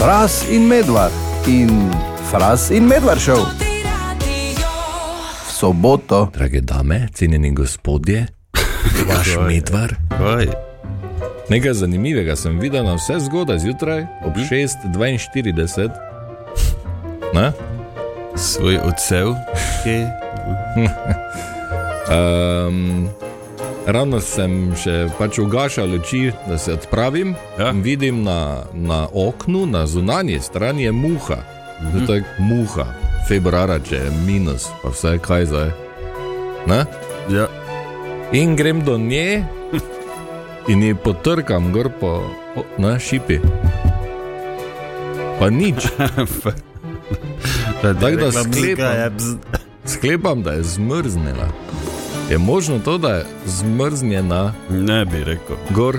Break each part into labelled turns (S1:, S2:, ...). S1: Fras in medvard in fras in medvard šel v soboto.
S2: Drage dame, cenjeni gospodje, vaš medvar.
S3: Oj,
S2: Nekaj zanimivega sem videl na vse zgodaj zjutraj, ob
S1: Mhm.
S2: 6:42. Ne?
S3: svoj odsev. Okay.
S2: Um, ravno sem še pač ugašal luči, da se odpravim.
S3: Ja.
S2: Ja. Vidim na, na oknu, na zunanji strani je muha. Mhm. Tako muha, februara, če je minus, pa vse kaj zdaj. Ne?
S3: Ja.
S2: In grem do nje in ji potrkam gor po o, na šipi. Pa nič,
S3: Da,
S2: tako da
S3: rekla,
S2: sklepam,
S3: "Bzga, ja, bzd."
S2: sklepam, da je zmrznila. Je možno to, da je zmrznjena
S3: Ne bi rekel.
S2: gor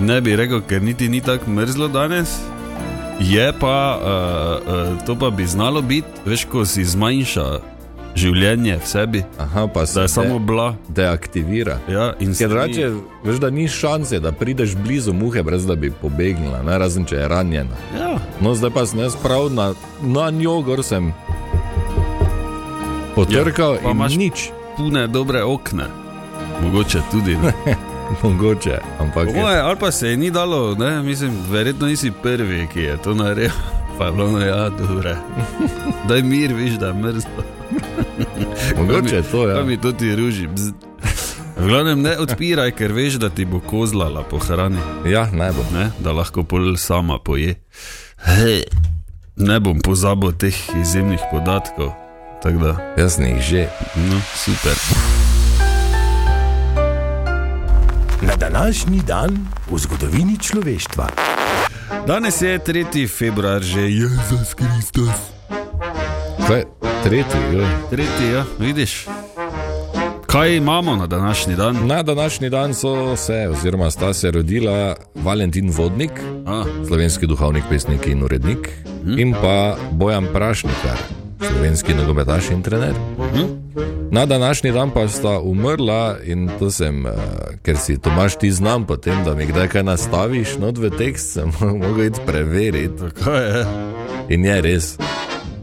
S3: Ne bi rekel, ker niti ni tako mrzlo danes. Je pa, uh, uh, to pa bi znalo biti, veš, ko si zmanjša življenje v sebi,
S2: Aha, pa se
S3: da je
S2: de-
S3: samo bila.
S2: deaktivira.
S3: Ja, in si
S2: Ker
S3: ni-
S2: drugače, veš, da ni šanse, da prideš blizu muhe, brez da bi pobegnila, ne, razen če je ranjena.
S3: Ja,
S2: No, zdaj pa sem jaz prav na, na njo, gor sem potrkal
S3: Ja, pa
S2: ja, in
S3: imaš-
S2: imaš nič,
S3: pune dobre okne. Mogoče tudi. ne.
S2: mogoče, ampak
S3: Po
S2: je,
S3: Moje, ali pa se je ni dalo, ne? mislim, verjetno nisi prvi, ki je to naredil. Pa je bilo, no ja, dobro. Daj mir, viš, da je mrzlo.
S2: mogoče je to
S3: Ja.
S2: je.
S3: Mi to ti ruži. bzd. V glavnem ne odpiraj, ker veš, da ti bo kozlala po hrani,
S2: Ja. ja, ne bo.
S3: ne? da lahko pol sama poje. Hej. Ne bom pozabil teh izjemnih podatkov. Tako da,
S2: Jaz sem jih že.
S3: no, super.
S1: Na današnji dan v zgodovini človeštva.
S3: Danes je 3. februar, že Jezus Kristus.
S2: Kaj, tretji, joj.
S3: Tretji, ja, vidiš. Kaj imamo na današnji dan?
S2: Na današnji dan so se, oziroma sta se rodila Valentin Vodnik,
S3: A,
S2: slovenski duhovnik, pesnik in urednik, hmm? in pa Bojan Prašnikar, slovenski nogometaš in trener.
S3: hm?
S2: Na današnji dan pa sta umrla in to sem, eh, ker si Tomaš ti znam, potem da mi kdaj kaj nastaviš, no v tekst sem mogel iti preveriti.
S3: Kaj je?
S2: In je res.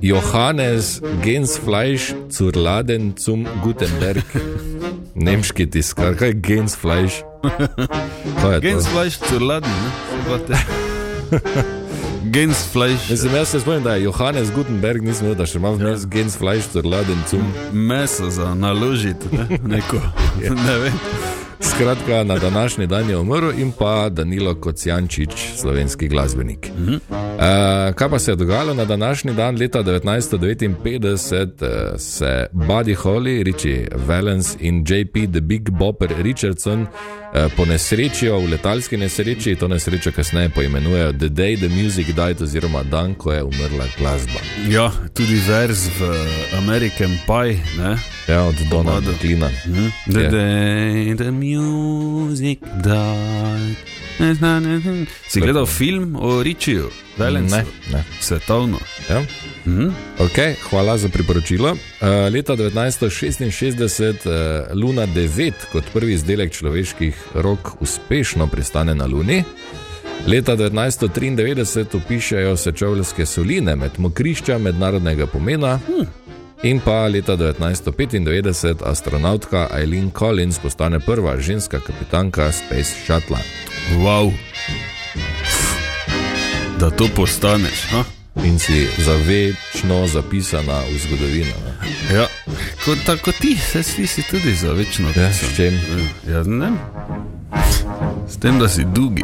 S2: Johannes Gensfleisch zur Laden zum Gutenberg. Nemški tiskar, kaj je Gensfleisch? Kaj je Ja, to?
S3: Gensfleisch zur Laden, ne? Vate. Gensfleisch,
S2: Mislim, jaz se spomnim, da je Johannes Gutenberg, nisem vedel, da še imam vmes Gensfleisch zur Laden zum.
S3: meso za naložiti, ne? neko. ne vem.
S2: Skratka, na današnji dan je umrl in pa Danilo Kocijančič, slovenski glasbenik. Uh -huh. uh, kaj pa se je dogajalo na današnji dan, leta 1959, uh, se Buddy Holly, Richie Valens in JP, The Big Bopper Richardson uh, ponesrečijo v letalski nesreči, to nesrečo kasneje poimenujejo The Day the Music Died, oziroma dan, ko je umrla glasba.
S3: Ja, tudi verz v eh, American Pie, ne?
S2: Ja, od Donalda
S3: Pomadu.
S2: Klina.
S3: Hm? The
S2: Ja.
S3: day the music died. Si gledal film o Richiju, Valensu?
S2: Ne, ne.
S3: Svetovno.
S2: Ja.
S3: Mhm.
S2: Okay, hvala za priporočilo. Uh, leta 1966 uh, Luna 9 kot prvi izdelek človeških rok uspešno pristane na Luni. Leta 1993 opišajo sečovljske soline med mokrišča mednarodnega pomena. In pa leta 1995 astronautka Eileen Collins postane prva ženska kapitanka Space Shuttle.
S3: Wow. Da to postaneš. Ha?
S2: In si za večno zapisana v zgodovino. ne.
S3: Ja, kot, tako kot ti, se si, si tudi za večno
S2: Ja,
S3: čas.
S2: s čem?
S3: Ja, ne. vem. S tem, da si dugi.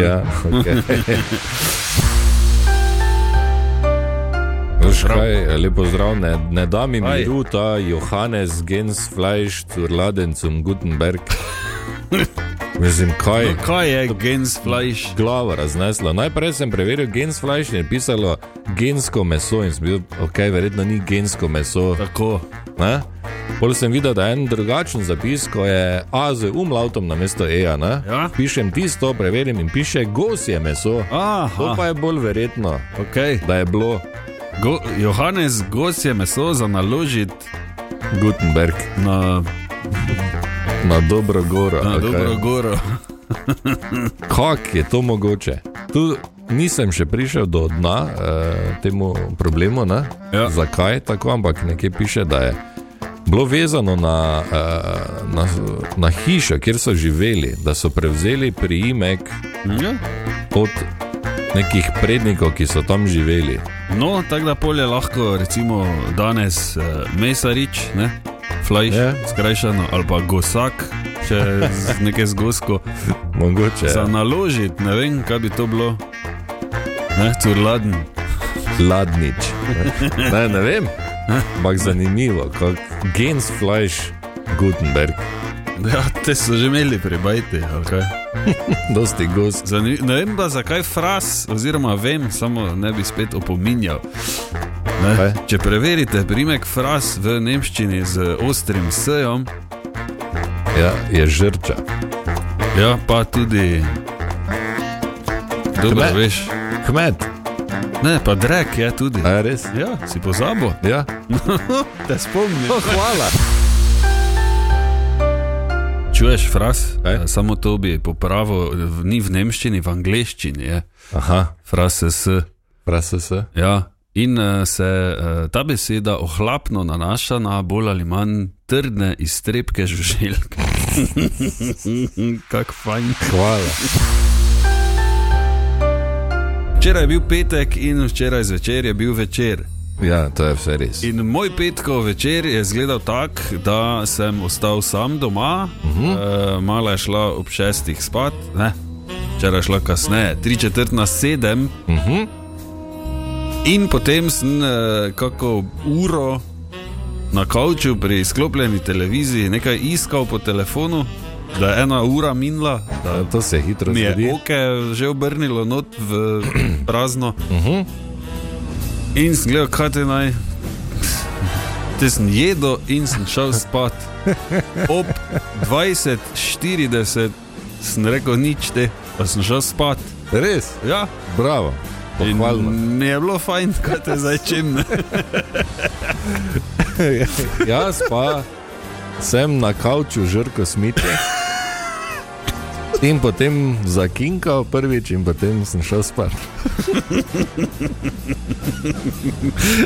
S2: Ja, okay. Veš kaj, lepo zdrav, ne, ne da mi
S3: Aj.
S2: miru ta Johannes Gens Fleisch zur Ladencum Gutenberg. Mislim, kaj je
S3: No, Kaj je gens flash?
S2: glava raznesla. Najprej sem preveril Gens Fleisch in je pisalo gensko meso in sem bil, ok, verjetno ni gensko meso.
S3: Tako.
S2: Ne? Pol sem videl, da je en drugačen zapis, ko je A z umlautom na mesto E.
S3: Ja.
S2: Pišem tisto, preverim in piše gosje meso. To
S3: Aha,
S2: pa je bolj verjetno,
S3: okay.
S2: da je bilo
S3: Go, Johannes gos je meso za naložiti
S2: Gutenberg
S3: na,
S2: na dobro goro.
S3: na okay. dobro goro.
S2: Kako je to mogoče? Tu nisem še prišel do dna eh, temu problemu, ne?
S3: Ja.
S2: zakaj tako, ampak nekje piše, da je bilo vezano na, eh, na, na hišo, kjer so živeli, da so prevzeli priimek
S3: Ja.
S2: od nekih prednikov, ki so tam živeli.
S3: No, tako da polje lahko, recimo danes eh, mesarič, ne? Flajš,
S2: Ja.
S3: yeah. skrajšano, ali pa gosak, če z neke zgosko.
S2: Mogoče
S3: Za naložiti, ne vem, kaj bi to bilo. Ne, curladen.
S2: ladnič. Ne, ne, ne vem, ampak zanimivo, kot Gens Fleisch Gutenberg,
S3: Ja, te so že imeli pri bajti, ali kaj.
S2: dosti gost.
S3: Zanimivo. Ne vem pa zakaj fras, oziroma vem, samo ne bi spet opominjal.
S2: Kaj?
S3: Ne? Če preverite primek fras v nemščini z ostrim sejom,
S2: Ja, je žrča.
S3: ja, pa tudi. Dobro,
S2: Kmet.
S3: veš.
S2: Kmet,
S3: Ne, pa drek je tudi.
S2: a je res?
S3: Ja, si pozabo.
S2: Ja.
S3: Te spomnim.
S2: Oh, hvala.
S3: Čuješ fras?
S2: Kaj?
S3: Eh, Samo to bi popravil, v- ni v nemščini, v angleščini je.
S2: Aha,
S3: Fras s.
S2: prase se.
S3: Ja. In uh, se uh, ta beseda ohlapno nanaša na bolj ali manj trdne iztrebke žuželk. Kak fajn.
S2: Hvala.
S3: Včeraj je bil petek in včeraj zvečer je bil večer.
S2: Ja, to je vse res.
S3: In moj petkov večer je izgledal tako, da sem ostal sam doma, uh -huh. uh, mala je šla ob šestih spat, ne? včeraj je šla kasneje, tri četrt na sedem. Uh -huh. In potem sem uh, kako uro na kavču pri sklopljeni televiziji nekaj iskal po telefonu, da je ena ura minila, da
S2: Ja, To se hitro
S3: mi je
S2: zgodi.
S3: oke že obrnilo not v prazno.
S2: Mhm.
S3: In sem gledal, kaj te naj. Te sem jedel in sem šel spat. Ob 20:40 sem rekel nič te, pa sem šel spat.
S2: Res,
S3: Ja,
S2: bravo.
S3: in
S2: Pohvalno.
S3: mi je bilo fajn, kaj te zdaj čim. ne.
S2: Jaz pa sem na kavču žrko smite. In potem zakinkal prvič, in potem sem šel spat.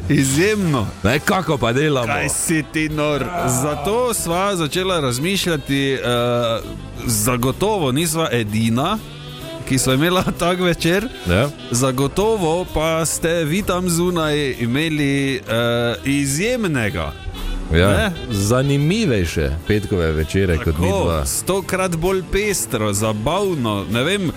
S3: Izjemno.
S2: Ne, kako pa delamo?
S3: Kaj si ti nor? Zato sva začela razmišljati, uh, zagotovo nisva edina, ki sva imela tak večer.
S2: Ja?
S3: Zagotovo pa ste vi tam zunaj imeli uh, izjemnega,
S2: Ja.
S3: Ne?
S2: Zanimivejše petkove večere kot mi dva.
S3: tako, stokrat bolj pestro, zabavno. Ne vem, uh,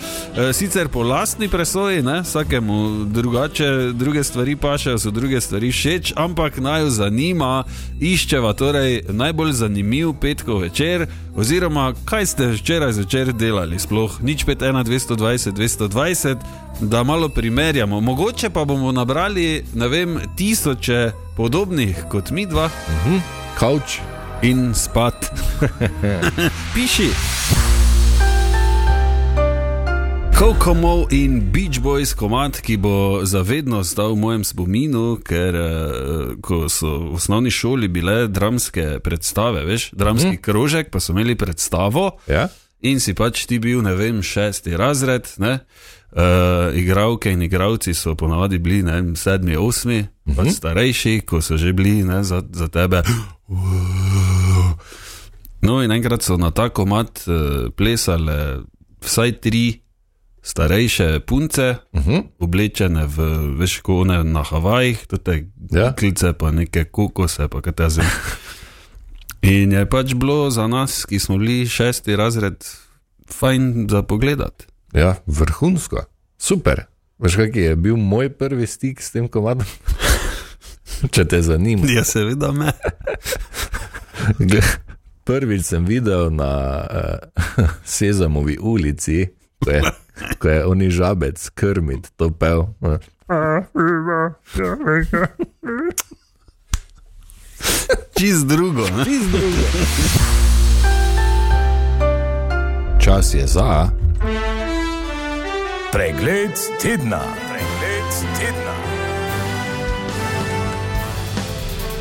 S3: sicer po lastni presoji, ne, vsakemu drugače, druge stvari pašejo, so druge stvari všeč, ampak naj jo zanima, iščeva torej najbolj zanimiv petkov večer, oziroma kaj ste včeraj zvečer delali, sploh nič 5, 1, 220, 220, da malo primerjamo. Mogoče pa bomo nabrali, ne vem, tisoče podobnih kot mi dva
S2: Kavč,
S3: in spat. Piši. Kokomo in Beach Boys komat, ki bo zavedno ostal v mojem spominu, ker eh, ko so v osnovni šoli bile dramske predstave, veš, dramski mm. krožek, pa so imeli predstavo
S2: ja?
S3: in si pač ti bil, ne vem, šesti razred. Ne? Uh, igravke in igravci so ponavadi bili ne, vem, sedmi, osmi, uh -huh. pač starejši, ko so že bili ne, za, za tebe. No, in enkrat so na ta komat uh, plesale vsaj tri starejše punce,
S2: uh -huh.
S3: Mhm. oblečene v veškone na Havajih, tudi
S2: Ja.
S3: ja. klice, pa neke kokose, pa kaj te zim. In je pač bilo za nas, ki smo bili šesti razred, fajn za pogled.
S2: ja, vrhunsko, super. Veš, kak je bil moj prvi stik s tem komadom? Če te zanima.
S3: Ja, seveda me.
S2: Gle- Prvič sem videl na uh, Sezamovi ulici, ko je, ko je oni žabec, krmit, eh, to pel. ne.
S3: Čist drugo. Ne?
S2: Čas je za.
S1: Pregled tedna. Pregled tedna.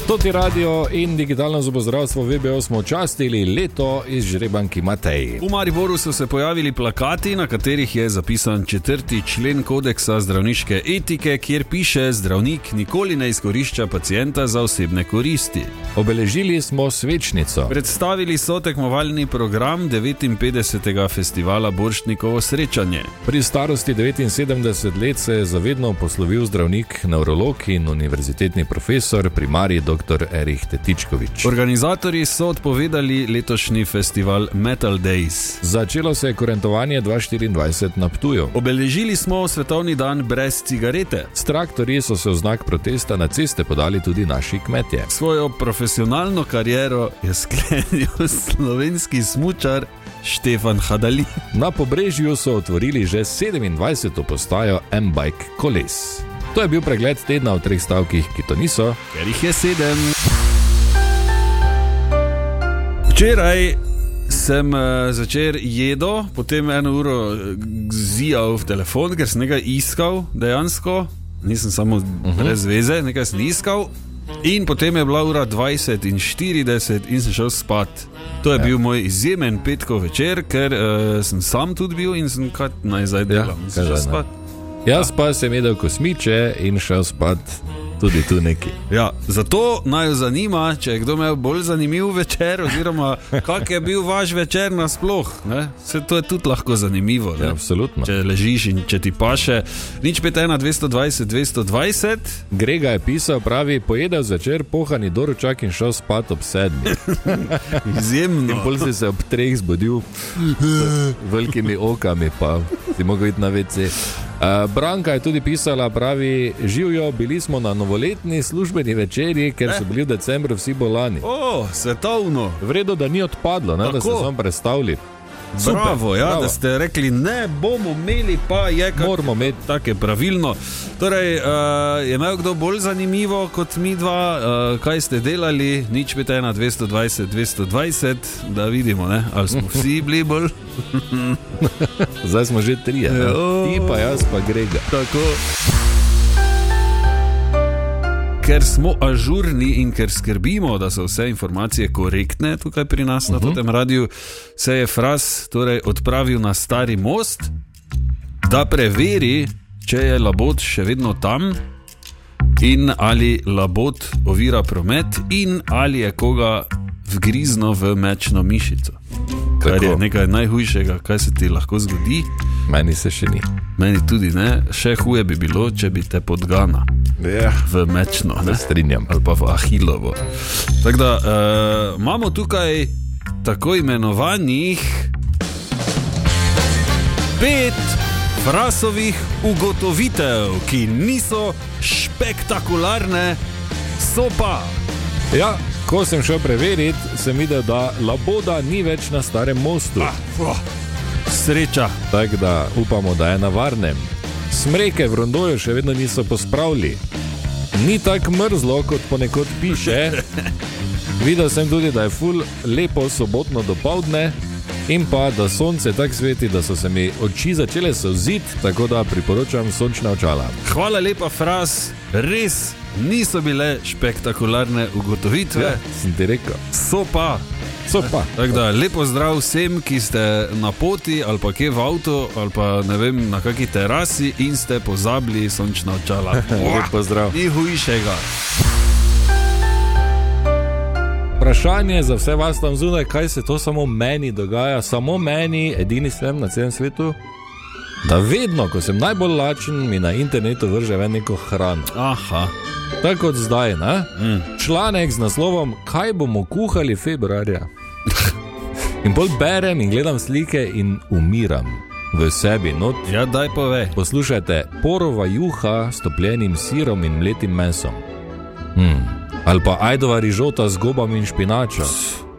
S2: To ti radio in digitalno zobozdravstvo VBO smo častili leto iz žrebanki Matej.
S3: V Mariboru so se pojavili plakati, na katerih je zapisan četrti člen kodeksa zdravniške etike, kjer piše: Zdravnik nikoli ne izkorišča pacijenta za osebne koristi.
S2: Obeležili smo svečnico.
S3: Predstavili so tekmovalni program 59. festivala Borštnikovo srečanje.
S2: Pri starosti 79 let se je zavedno poslovil zdravnik, nevrolog in univerzitetni profesor, primarij dr. Erih Tetičkovič.
S3: Organizatorji so odpovedali letošnji festival Metal Days.
S2: Začelo se je korentovanje 2024 na Ptuju.
S3: Obeležili smo svetovni dan brez cigarete.
S2: S traktorji so se v znak protesta na ceste podali tudi naši kmetje.
S3: Svojo profesionalno kariero je sklenil slovenski smučar Štefan Hadalin.
S2: Na pobrežju so otvorili že 27. postajo M-Bike koles. To je bil pregled tedna v treh stavkih, ki to niso.
S3: Ker jih je sedem. Včeraj sem eh, začel jedo, potem eno uro eh, zijal v telefon, ker sem nekaj iskal, dejansko, nisem samo uh -huh. brez veze, nekaj sem iskal. In potem je bila ura 20 in 40 in sem šel spat. To je ja. bil moj izjemen petkov večer, ker uh, sem sam tudi bil in sem kaj naj zdaj delam. Ja,
S2: kaj
S3: sem šel
S2: zdaj naj?
S3: spat.
S2: Jaz pa sem jedel kosmiče in šel spat tudi tu neki.
S3: Ja, zato naj jo zanima, če je kdo imel bolj zanimiv večer, oziroma kak je bil vaš večer nasploh. ne. Saj to je tudi lahko zanimivo. ne.
S2: Ja, absolutno.
S3: Če ležiš in če ti paše, nič 51, 220, 220,
S2: Grega je pisal, pravi, pojedel začer, pohani doručak in šel spat ob sedmih.
S3: izjemno.
S2: Pol si se ob treh zbudil z velikimi okami, pa si mogel iti na vece. Uh, Branka je tudi pisala, pravi, živijo, bili smo na novoletni službeni večerji, ker
S3: Eh?
S2: so bili v decembru vsi bolani.
S3: O, svetovno.
S2: Vredno, da ni odpadlo, ne, da ste
S3: Tako.
S2: sam predstavili. Super,
S3: Bravo, ja,
S2: bravo.
S3: da ste rekli, ne bomo imeli, pa je kar.
S2: Moramo imeti.
S3: Tako je pravilno. Torej, uh, je imel kdo bolj zanimivo kot mi dva, uh, kaj ste delali, nič pet ena, 220, 220, da vidimo, ne? ali smo vsi bili bolj.
S2: Zdaj smo že trije. ne.
S3: Jo.
S2: Ti pa jaz, pa Grega.
S3: Tako. Ker smo ažurni in ker skrbimo, da so vse informacije korektne tukaj pri nas uh -huh. na tem radiju, se je Fras torej odpravil na Stari most, da preveri, če je labod še vedno tam in ali labod ovira promet, in ali je koga vgrizno v mečno mišico. Kar
S2: Tako.
S3: je nekaj najhujšega, kar se ti lahko zgodi.
S2: Meni se še ni.
S3: Meni tudi ne, še huje bi bilo, če bi te podgana
S2: Ja.
S3: v mečno ne?
S2: Strinjam.
S3: ali pa v ahilovo. Tako da uh, imamo tukaj tako imenovanih pet frasovih ugotovitev, ki niso spektakularne, so pa.
S2: Ja, ko sem šel preveriti, sem videl, da Laboda ni več na starem mostu.
S3: Oh, sreča.
S2: Tako da upamo, da je na varnem. Smreke v rondoju še vedno niso pospravili. Ni tako mrzlo, kot ponekod piše. Videl sem tudi, da je ful lepo sobotno dopoledne in pa da sonce tako sveti, da so se mi oči začele soziti, tako da priporočam sončna očala.
S3: Hvala lepa, fraz, res niso bile spektakularne ugotovitve,
S2: Ja,
S3: ja.
S2: sem ti rekel.
S3: so pa.
S2: So pa.
S3: Tako da, lepo zdrav vsem, ki ste na poti ali pa kje v avtu ali pa ne vem na kaki terasi in ste pozabili sončna očala.
S2: Lep pozdrav.
S3: Ni hujšega.
S2: Vprašanje za vse vas tam zunaj, kaj se to samo meni dogaja, samo meni, edini sem na celem svetu. Da vedno, ko sem najbolj lačen, mi na internetu vrže ven neko hrano.
S3: Aha,
S2: Tako kot zdaj, ne? Mm. Članek z naslovom Kaj bomo kuhali februarja. In bolj berem in gledam slike in umiram v sebi. Not.
S3: ja, daj pove.
S2: Poslušajte, porova juha s topljenim sirom in mletim mesom. Hmm. Ali pa ajdova rižota z gobami in špinačo,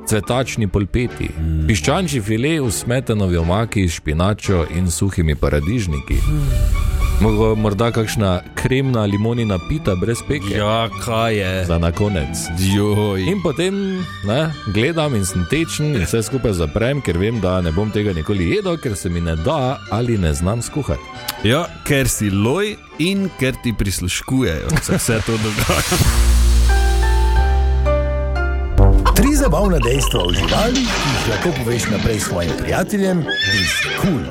S2: cvetačni polpeti, hmm. piščančji file v smetanovi omaki s špinačo in suhimi paradižniki. Mogo- Morda kakšna kremna limonina pita brez peke
S3: Ja, kaj je?
S2: za na konec.
S3: Joj.
S2: In potem ne, gledam in sem tečen in vse skupaj zaprem, ker vem, da ne bom tega nikoli jedel, ker se mi ne da ali ne znam skuhati.
S3: Ja, ker si loj in ker ti prisluškujejo, se vse to dogaja.
S4: Zabavna dejstva o živalih, ki jih lahko poveš naprej svojim prijateljem, iz kul. Cool.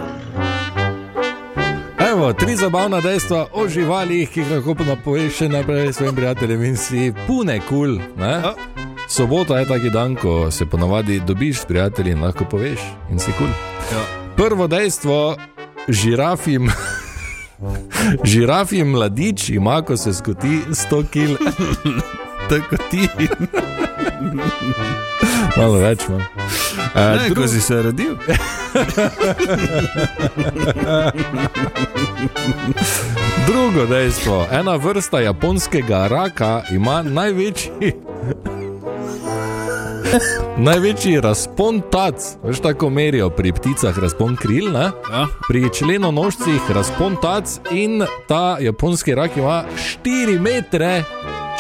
S2: Evo, tri zabavna dejstva o živalih, ki jih lahko napoveš še naprej svojim prijateljem in si pune kul.
S3: Ja.
S2: Cool, Sobota je taki dan, ko se ponavadi dobiš s prijatelji in lahko poveš in si kul. Cool.
S3: Ja.
S2: Prvo dejstvo, žirafim. Žirafji mladič ima, ko se skoti 100 kg,
S3: Tako kot ti,
S2: malo več. No. Eh,
S3: ne, ko si se rodil.
S2: Ja. Drugo dejstvo, ena vrsta japonskega raka ima največji. Največji razpon tac, veš tako merijo pri pticah razpon kril, ne?
S3: Ja.
S2: pri členonožcih razpon tac in ta japonski rak ima 4 metre,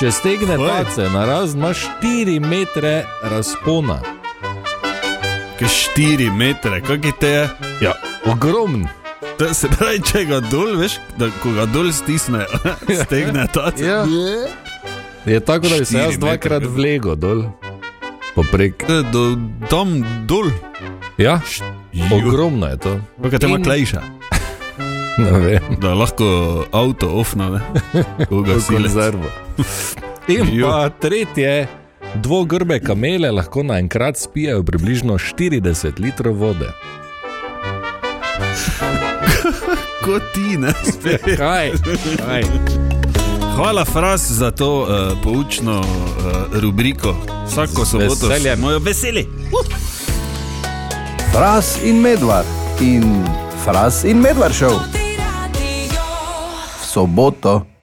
S2: če stegne
S3: Oj.
S2: tace na raz, ima 4 metre razpona.
S3: Kaj štiri metre, kaj te je?
S2: Ja, ogromen.
S3: To se pravi, če ga dol, veš, da ko ga dol stisne, stegne ta cel.
S2: Ja. Je tako, da bi se
S3: Štiri
S2: jaz dvakrat
S3: metre.
S2: vlego dol, poprek.
S3: Do, tam dol,
S2: Ja,
S3: Ju.
S2: ogromno je to.
S3: kaj te ima
S2: In-
S3: klejša,
S2: Ne vem.
S3: da lahko avto ofnave, koga si le.
S2: konzervo. In
S3: Jo.
S2: pa tretje, dvogrbe kamele lahko naenkrat spijajo približno 40 litrov vode.
S3: Kot ti, ne?
S2: Kaj? Kaj?
S3: Hvala, Fras, za to uh, poučno uh, rubriko. Vsako soboto
S2: veseljem.
S3: smo jo veseli.
S1: Fras in medvard in Fras in medvard šel
S5: Ti radio.
S1: v soboto.